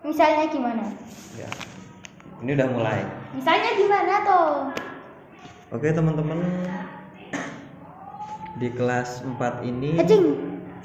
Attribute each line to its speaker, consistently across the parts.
Speaker 1: Misalnya gimana?
Speaker 2: ya ini udah mulai
Speaker 1: Misalnya gimana toh?
Speaker 2: oke teman-teman di kelas 4 ini
Speaker 1: Hacing.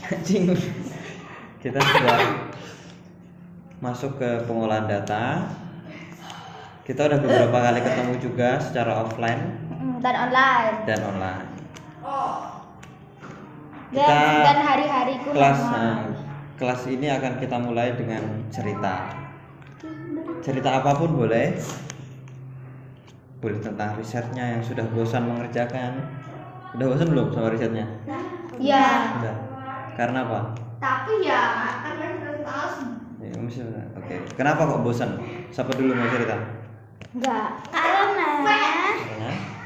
Speaker 2: Anjing. kita sudah masuk ke pengolahan data kita udah beberapa kali ketemu juga secara offline
Speaker 1: Mm, Dan online.
Speaker 2: dan online
Speaker 1: Dan,
Speaker 2: Kita-
Speaker 1: dan hari-hariku
Speaker 2: kelas nah,
Speaker 1: normal.
Speaker 2: kelas ini akan kita mulai dengan cerita cerita apapun boleh boleh tentang risetnya yang sudah bosan mengerjakan udah bosan belum sama risetnya
Speaker 1: Ya.
Speaker 2: udah karena apa
Speaker 3: Tapi ya karena kita tahu
Speaker 2: ya, masih oke kenapa kok bosan siapa dulu mau cerita
Speaker 1: Enggak. Karena
Speaker 2: karena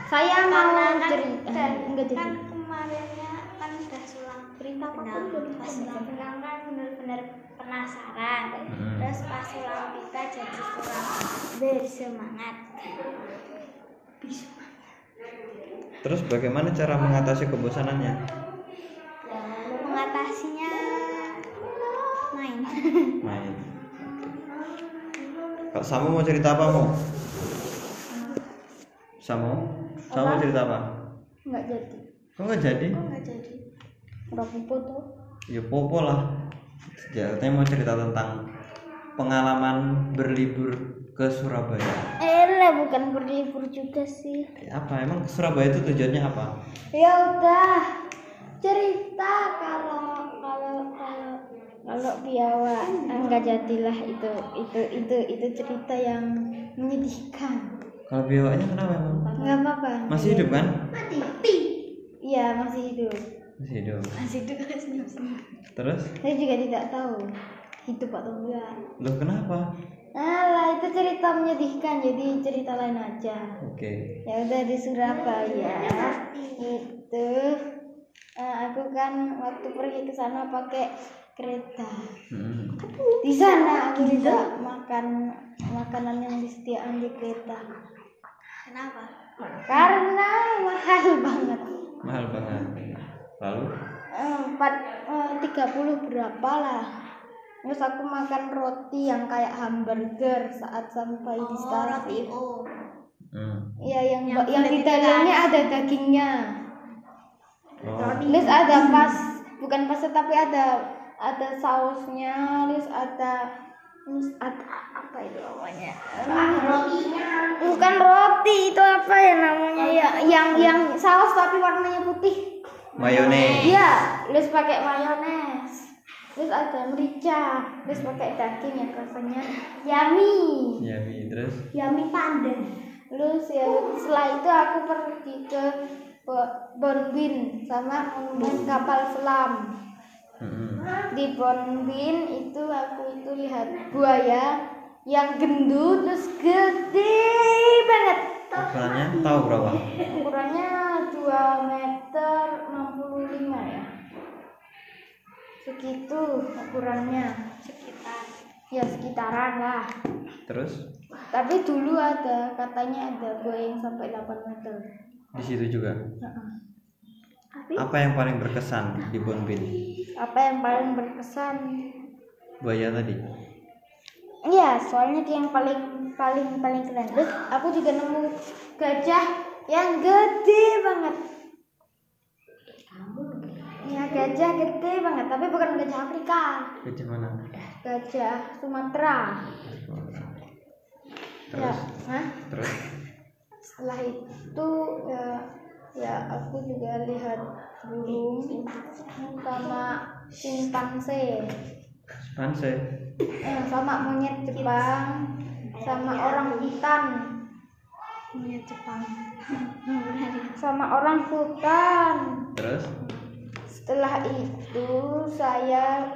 Speaker 1: saya mau cerita.
Speaker 3: kan,
Speaker 1: eh, Enggak jadi.
Speaker 3: kan kemarinnya kan udah sulang cerita
Speaker 1: apapun udah
Speaker 3: pas
Speaker 1: ditambahin.
Speaker 3: sulang benang kan bener-bener penasaran
Speaker 2: Mm.
Speaker 3: terus pas sulang kita jadi sulang bersemangat
Speaker 2: terus bagaimana cara mengatasi kebosanannya
Speaker 3: mengatasinya main
Speaker 2: main kok Samu mau cerita apa mau Samu Samu
Speaker 1: Apa?
Speaker 2: cerita apa
Speaker 1: Enggak jadi.
Speaker 2: kok nggak Oh, jadi
Speaker 3: nggak Oh, jadi
Speaker 1: Udah pupu tuh.
Speaker 2: ya popo lah ya katanya mau cerita tentang pengalaman berlibur ke Surabaya
Speaker 1: Eh lah, bukan berlibur juga sih.
Speaker 2: Eh, apa emang Surabaya itu tujuannya apa
Speaker 1: Ya udah cerita kalau kalau kalau kalau biawa
Speaker 3: Hmm.
Speaker 1: enggak jadilah itu itu itu itu cerita yang menyedihkan.
Speaker 2: kalau biawaknya kenapa emang
Speaker 1: Enggak apa-apa.
Speaker 2: masih hidup kan
Speaker 3: mati mati
Speaker 1: Iya masih hidup.
Speaker 2: masih hidup
Speaker 3: masih itu kan senyum
Speaker 2: terus
Speaker 1: Saya juga tidak tahu hidup atau enggak.
Speaker 2: loh kenapa
Speaker 1: Alah itu cerita menyedihkan jadi cerita lain aja.
Speaker 2: oke
Speaker 1: Ya udah di
Speaker 3: Nah, iya,
Speaker 1: Surabaya itu eh, aku kan waktu pergi ke sana pakai kereta.
Speaker 2: Hmm.
Speaker 1: di sana gitu. aku juga makan makanan yang disediakan di kereta
Speaker 3: kenapa
Speaker 1: karena mahal banget
Speaker 2: mahal banget lalu
Speaker 1: Eh, empat tiga puluh berapa lah terus aku makan roti yang kayak hamburger saat sampai di stasiun
Speaker 3: oh
Speaker 2: hmm.
Speaker 1: ya yang
Speaker 3: Yang
Speaker 1: ba- yang di dalamnya ada dagingnya
Speaker 2: oh.
Speaker 1: terus ada pas bukan pasta tapi ada ada sausnya terus ada terus ada apa itu namanya
Speaker 3: rotinya
Speaker 1: bukan roti itu apa ya namanya ya yang yang saus tapi warnanya putih
Speaker 2: mayonnaise
Speaker 1: iya terus pakai mayones terus ada merica terus pakai daging yang rasanya yummy
Speaker 2: ya Bi, terus
Speaker 1: yummy pandan terus ya setelah itu aku pergi ke Bo- Bonbin sama monumen kapal selam
Speaker 2: Mm-mm.
Speaker 1: di Bonbin itu aku itu lihat buaya yang gendut terus gede banget
Speaker 2: ukurannya tahu berapa
Speaker 1: ukurannya 2 meter 65 ya segitu ukurannya
Speaker 3: sekitar
Speaker 1: ya sekitaran lah
Speaker 2: terus
Speaker 1: tapi dulu ada katanya ada buaya yang sampai 8 meter
Speaker 2: di situ juga
Speaker 1: Heeh.
Speaker 2: apa yang paling berkesan di Bonbin
Speaker 1: apa yang paling berkesan
Speaker 2: buaya tadi
Speaker 1: iya soalnya dia yang paling paling paling keren terus aku juga nemu gajah yang gede banget ya gajah gede banget tapi bukan gajah Afrika
Speaker 2: gajah mana
Speaker 1: Ya. gajah Sumatera Ya,
Speaker 2: terus
Speaker 1: Hah?
Speaker 2: terus
Speaker 1: Setelah itu ya, ya aku juga lihat burung sama simpanse,
Speaker 2: panse
Speaker 1: eh, sama monyet Jepang, sama orang hutan,
Speaker 3: punya Jepang
Speaker 1: sama orang hutan.
Speaker 2: terus
Speaker 1: Setelah itu saya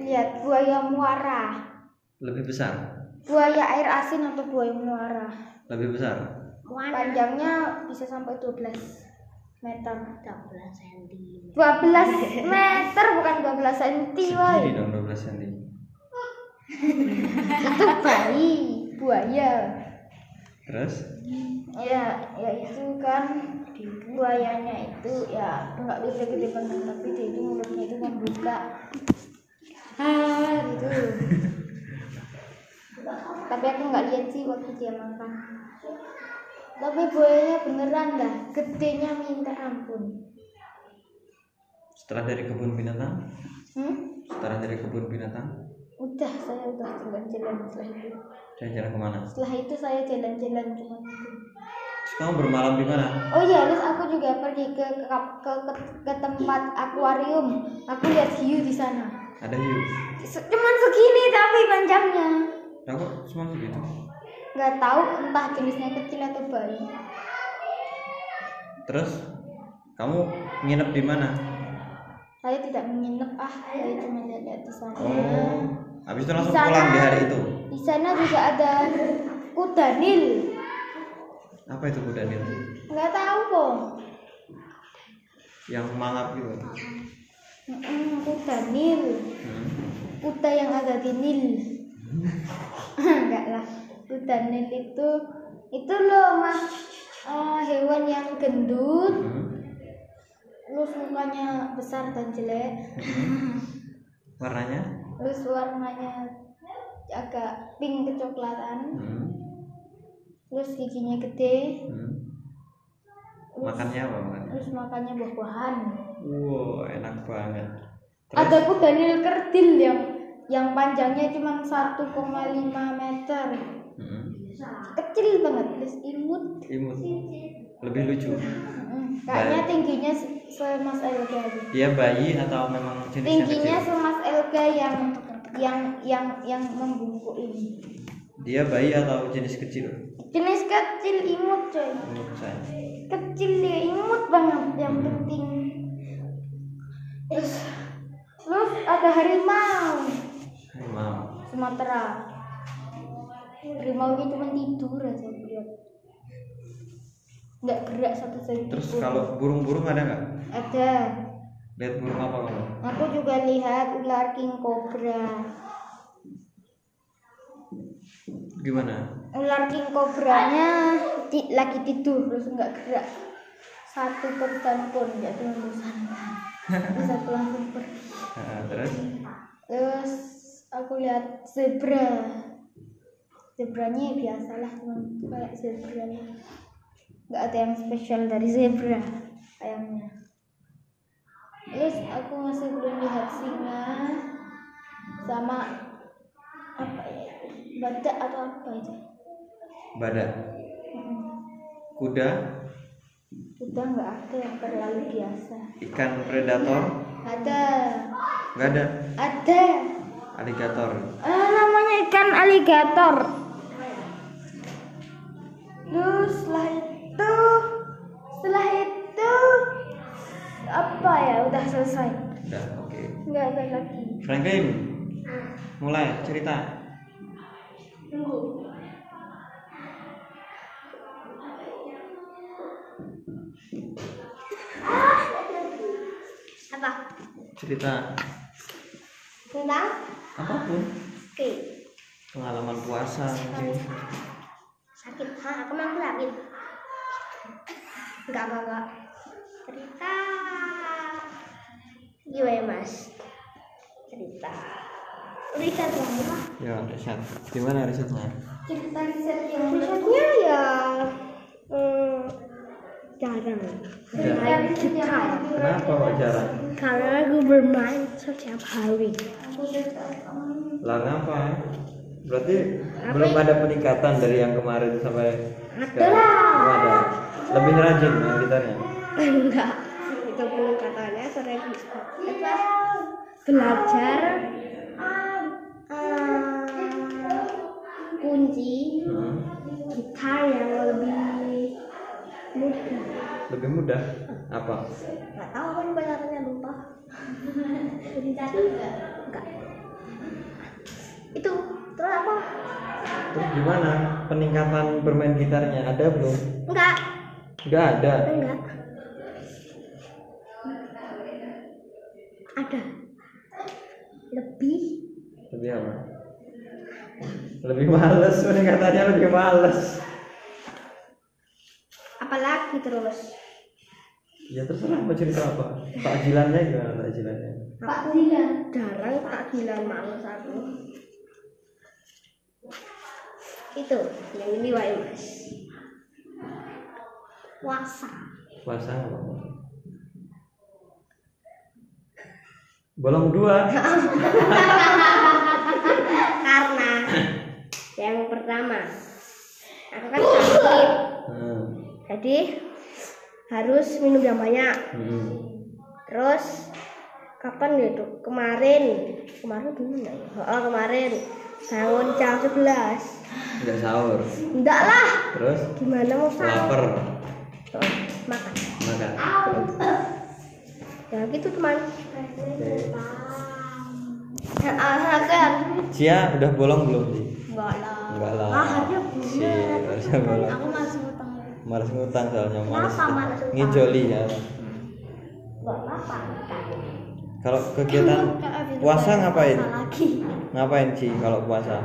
Speaker 1: lihat buaya muara,
Speaker 2: lebih besar
Speaker 1: buaya air asin atau buaya muara.
Speaker 2: lebih besar
Speaker 1: Panjangnya bisa sampai 12 meter.
Speaker 3: 12 cm
Speaker 1: 12 meter bukan 12 cm woy
Speaker 2: segini dong 12 cm
Speaker 1: itu bayi buaya
Speaker 2: terus
Speaker 1: ya ya itu kan buayanya itu ya nggak gede-gede banget tapi dia itu mulutnya itu membuka ah gitu tapi aku nggak lihat sih waktu dia makan tapi buayanya beneran dah gedenya minta ampun
Speaker 2: Setelah dari kebun binatang,
Speaker 1: hmm?
Speaker 2: setelah dari kebun binatang,
Speaker 1: udah saya udah jalan-jalan setelah itu
Speaker 2: saya jalan kemana?
Speaker 1: setelah itu saya jalan-jalan cuma gitu. itu
Speaker 2: Terus kamu bermalam di mana?
Speaker 1: Oh iya, terus aku juga pergi ke ke, ke, ke- ke tempat akuarium. Aku lihat hiu di sana.
Speaker 2: Ada hiu.
Speaker 1: Se- Cuman segini tapi panjangnya.
Speaker 2: Lah kok cuma segitu?
Speaker 1: Nggak tahu entah jenisnya kecil atau bayi.
Speaker 2: Terus kamu nginep di mana?
Speaker 1: Saya tidak menginap ah, saya cuma lihat-lihat di sana.
Speaker 2: Oh, habis itu langsung
Speaker 1: Di sana.
Speaker 2: pulang di hari itu.
Speaker 1: Di sana juga ada kuda nil.
Speaker 2: Apa itu kuda nil?
Speaker 1: Nggak tahu kok.
Speaker 2: Yang mangap gitu.
Speaker 1: Mm-mm, kuda nil.
Speaker 2: Hmm.
Speaker 1: Kuda yang agak di nil. Enggak lah. Kuda nil itu itu loh mah eh, hewan yang gendut
Speaker 2: Hmm.
Speaker 1: Lus mukanya besar dan jelek,
Speaker 2: Mm-hmm. Warnanya?
Speaker 1: lus warnanya agak pink kecoklatan,
Speaker 2: Hmm.
Speaker 1: lus giginya gede,
Speaker 2: Hmm.
Speaker 1: lus,
Speaker 2: Makannya apa makannya?
Speaker 1: lus makannya buah-buahan.
Speaker 2: Wow, enak banget. Terus
Speaker 1: Ada kuda nil kerdil yang yang panjangnya cuma 1,5 meter,
Speaker 2: Hmm.
Speaker 1: kecil banget, lus imut.
Speaker 2: imut. Lebih lucu.
Speaker 1: Mm, Kayaknya
Speaker 2: Baik.
Speaker 1: tingginya se- semas Elga gitu.
Speaker 2: Dia bayi atau memang jenisnya
Speaker 1: Tingginya
Speaker 2: kecil?
Speaker 1: semas Elga yang yang yang yang membungkuk ini.
Speaker 2: Dia bayi atau jenis kecil?
Speaker 1: Jenis kecil imut coy.
Speaker 2: Menurut saya.
Speaker 1: kecil dia imut banget yang penting terus terus ada harimau
Speaker 2: Harimau.
Speaker 1: Sumatera harimau itu cuma tidur aja lihat nggak gerak satu senti
Speaker 2: Terus
Speaker 1: pun.
Speaker 2: kalau burung-burung ada nggak?
Speaker 1: ada
Speaker 2: Lihat burung apa kamu?
Speaker 1: aku juga lihat ular king cobra
Speaker 2: Gimana?
Speaker 1: ular king cobranya ti- lagi tidur terus nggak gerak satu persen pun nggak cuma santai bisa langsung pergi
Speaker 2: Nah, terus
Speaker 1: terus aku lihat zebra zebranya ya biasalah cuman kayak zebra nggak ada yang spesial dari zebra kayaknya terus aku masih belum lihat singa sama apa ya badak atau apa itu
Speaker 2: badak,
Speaker 1: Mm-mm.
Speaker 2: kuda,
Speaker 1: udah nggak ada yang terlalu biasa
Speaker 2: ikan predator,
Speaker 1: ada
Speaker 2: nggak ada.
Speaker 1: ada
Speaker 2: Aligator,
Speaker 1: Ah, namanya ikan aligator. Terus setelah itu, setelah itu apa ya? Udah selesai.
Speaker 2: udah oke.
Speaker 1: Nggak ada lagi.
Speaker 2: Franklin, mulai cerita.
Speaker 3: Tunggu.
Speaker 1: Ah, Apa?
Speaker 2: Cerita
Speaker 1: Tentang?
Speaker 2: apapun
Speaker 3: Oke.
Speaker 2: pengalaman puasa mungkin.
Speaker 3: Sakit. Hah, aku mah aku sakit. Enggak apa enggak. Cerita. Gimana ya, mas? Cerita. Riset dong.
Speaker 2: Ya, riset. Gimana risetnya?
Speaker 1: Cerita riset yang
Speaker 3: Risetnya ya eh, jarang.
Speaker 1: cerita
Speaker 2: Jarang.
Speaker 1: riset yang aku
Speaker 2: Kenapa kok jarang?
Speaker 3: Karena aku bermain setiap hari.
Speaker 1: aku cerita.
Speaker 2: Lah kenapa? Berarti belum ada peningkatan dari yang kemarin sampai sekarang. Belum Ada. Lebih rajin main gitarnya.
Speaker 3: Enggak. Itu pendekatannya sering apa? Belajar eh, kunci
Speaker 2: Hmm.
Speaker 3: gitar yang lebih mudah.
Speaker 2: Lebih mudah apa?
Speaker 3: Enggak tahu kan belajarnya lupa. Gitar enggak. Itu terus apa?
Speaker 2: Terus gimana peningkatan bermain gitarnya? Ada belum?
Speaker 3: Enggak.
Speaker 2: Enggak ada.
Speaker 3: Enggak. Ada. Lebih.
Speaker 2: Lebih apa? Lebih males peningkatannya lebih males.
Speaker 3: Apalagi terus.
Speaker 2: Ya terserah mau cerita apa? Takjilannya gimana takjilannya?
Speaker 3: Pak Dilan. Jarang Pak Dilan malu aku. itu yang ini wae mas puasa
Speaker 2: Puasa apa? Bolong dua.
Speaker 3: karena yang pertama aku kan sakit
Speaker 2: Hmm.
Speaker 3: jadi harus minum yang banyak
Speaker 2: Hmm.
Speaker 3: terus kapan ya Dok? kemarin kemarin dulu nggak ya oh, kemarin bangun jam 11
Speaker 2: Nggak sahur.
Speaker 3: enggak lah
Speaker 2: Terus
Speaker 3: gimana mau sahur
Speaker 2: lapar kan?
Speaker 3: Oh, makan
Speaker 2: makan.
Speaker 3: ya gitu teman
Speaker 2: Oke.
Speaker 3: dan akhirnya
Speaker 2: Cia udah bolong belum sih?
Speaker 3: enggak lah
Speaker 2: Enggak lah.
Speaker 3: ah harusnya
Speaker 2: Si,
Speaker 3: bener
Speaker 2: harusnya bolong.
Speaker 3: aku masih utang
Speaker 2: Malas ngutang soalnya malas.
Speaker 3: Kenapa malas ngutang?
Speaker 2: Ngejoli ya.
Speaker 3: enggak apa
Speaker 2: Kalau kegiatan puasa ngapain?
Speaker 3: lagi
Speaker 2: Ngapain sih kalau puasa?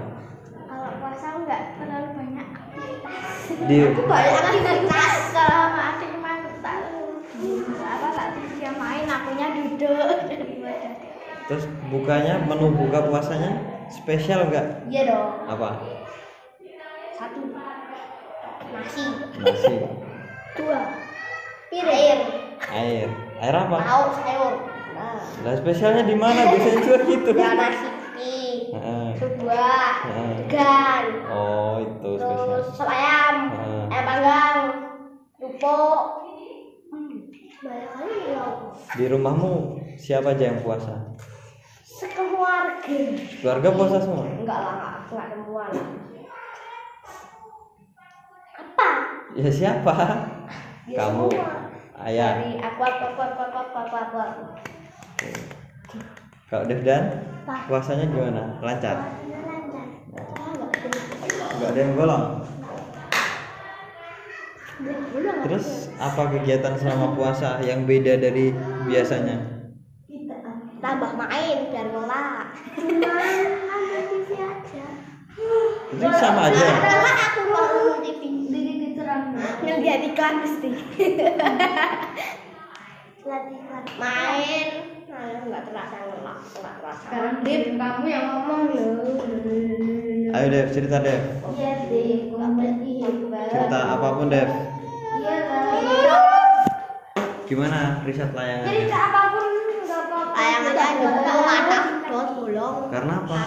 Speaker 3: kalau puasa enggak terlalu banyak aktivitas
Speaker 2: Di
Speaker 3: banyak aktivitas kalau sama adik cuma tak apa tak dia main akunya duduk
Speaker 2: terus bukanya menu buka puasanya spesial nggak?
Speaker 3: iya dong
Speaker 2: Apa?
Speaker 3: satu nasi
Speaker 2: Nasi,
Speaker 3: dua piring
Speaker 2: air. Air apa?
Speaker 3: lauk sayur nah
Speaker 2: Lah spesialnya di mana? Biasanya juga gitu
Speaker 3: ya
Speaker 2: kan.
Speaker 3: nasi putih
Speaker 2: Heeh.
Speaker 3: itu dua
Speaker 2: Heeh.
Speaker 3: degan
Speaker 2: Oh, itu spesial.
Speaker 3: terus sop ayam
Speaker 2: Heeh.
Speaker 3: ayam panggang lupuk banyak kali ya
Speaker 2: Di rumahmu siapa aja yang puasa?
Speaker 3: sekeluarga
Speaker 2: Keluarga puasa semua?
Speaker 3: enggak lah enggak aku enggak temuan apa
Speaker 2: Ya siapa?
Speaker 3: Ya,
Speaker 2: Kamu.
Speaker 3: semua.
Speaker 2: Ayah.
Speaker 3: dari aku aku aku aku aku aku aku, aku, aku.
Speaker 2: Kalau Devdan puasanya gimana? Lancar? Enggak ada yang bolong. Terus apa kegiatan selama puasa yang beda dari biasanya?
Speaker 3: tambah main dan nolak
Speaker 2: Itu sama aja.
Speaker 3: nolak Nah, aku nolak di menjadikan mesti main nah nggak terasa nolak nggak terasa
Speaker 1: Sekarang Dip, kamu yang ngomong loh.
Speaker 2: Ayo Dev, cerita Dev.
Speaker 1: Iya Dip, kamu hebat.
Speaker 2: Cerita apapun Dev.
Speaker 1: Iya
Speaker 2: Gimana riset layangannya?
Speaker 1: apapun nggak apa-apa.
Speaker 3: Ayang aja ada tahu ada terus bolong
Speaker 2: Karena apa?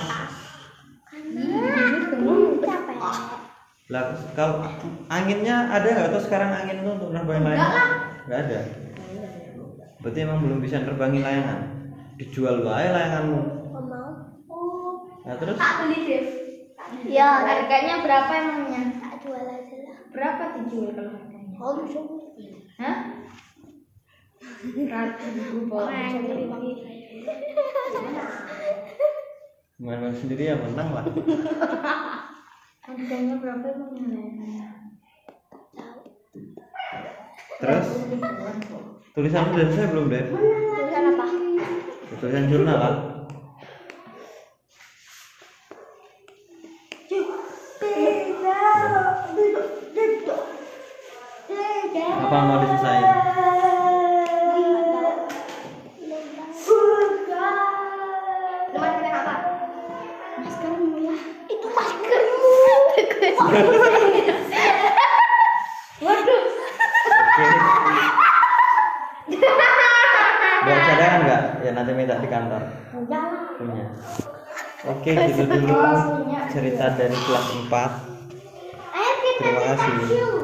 Speaker 3: capek
Speaker 2: Lah, kalau anginnya ada nggak atau sekarang angin itu untuk nerbangin layangan? Nggak ada. Berarti emang belum bisa nerbangin layangan. Dijual wae layanganmu.
Speaker 3: mau
Speaker 2: Nah terus
Speaker 1: beli Dip.
Speaker 3: ya
Speaker 1: Harganya berapa emangnya?
Speaker 3: tak jual aja lah
Speaker 1: Berapa dijual kalau harganya?
Speaker 3: om cuma
Speaker 1: Hah? Ratus ribu pohon.
Speaker 2: main sendiri ya menang lah.
Speaker 1: Harganya berapa emangnya?
Speaker 2: Terus tulisanmu dari saya belum Dev.
Speaker 3: tulisan apa
Speaker 2: Tulisan jurnal lah. Apa mau diselesaikan?
Speaker 3: Teman kita apa? Maskermu ya. Itu maskermu. Waduh.
Speaker 2: Oke. Bawa cadangan nggak? Ya nanti minta di kantor.
Speaker 3: Enggak lah.
Speaker 2: Punya. Oke, gitu dulu cerita dari kelas 4.
Speaker 3: Ayo kita
Speaker 2: Terima kasih.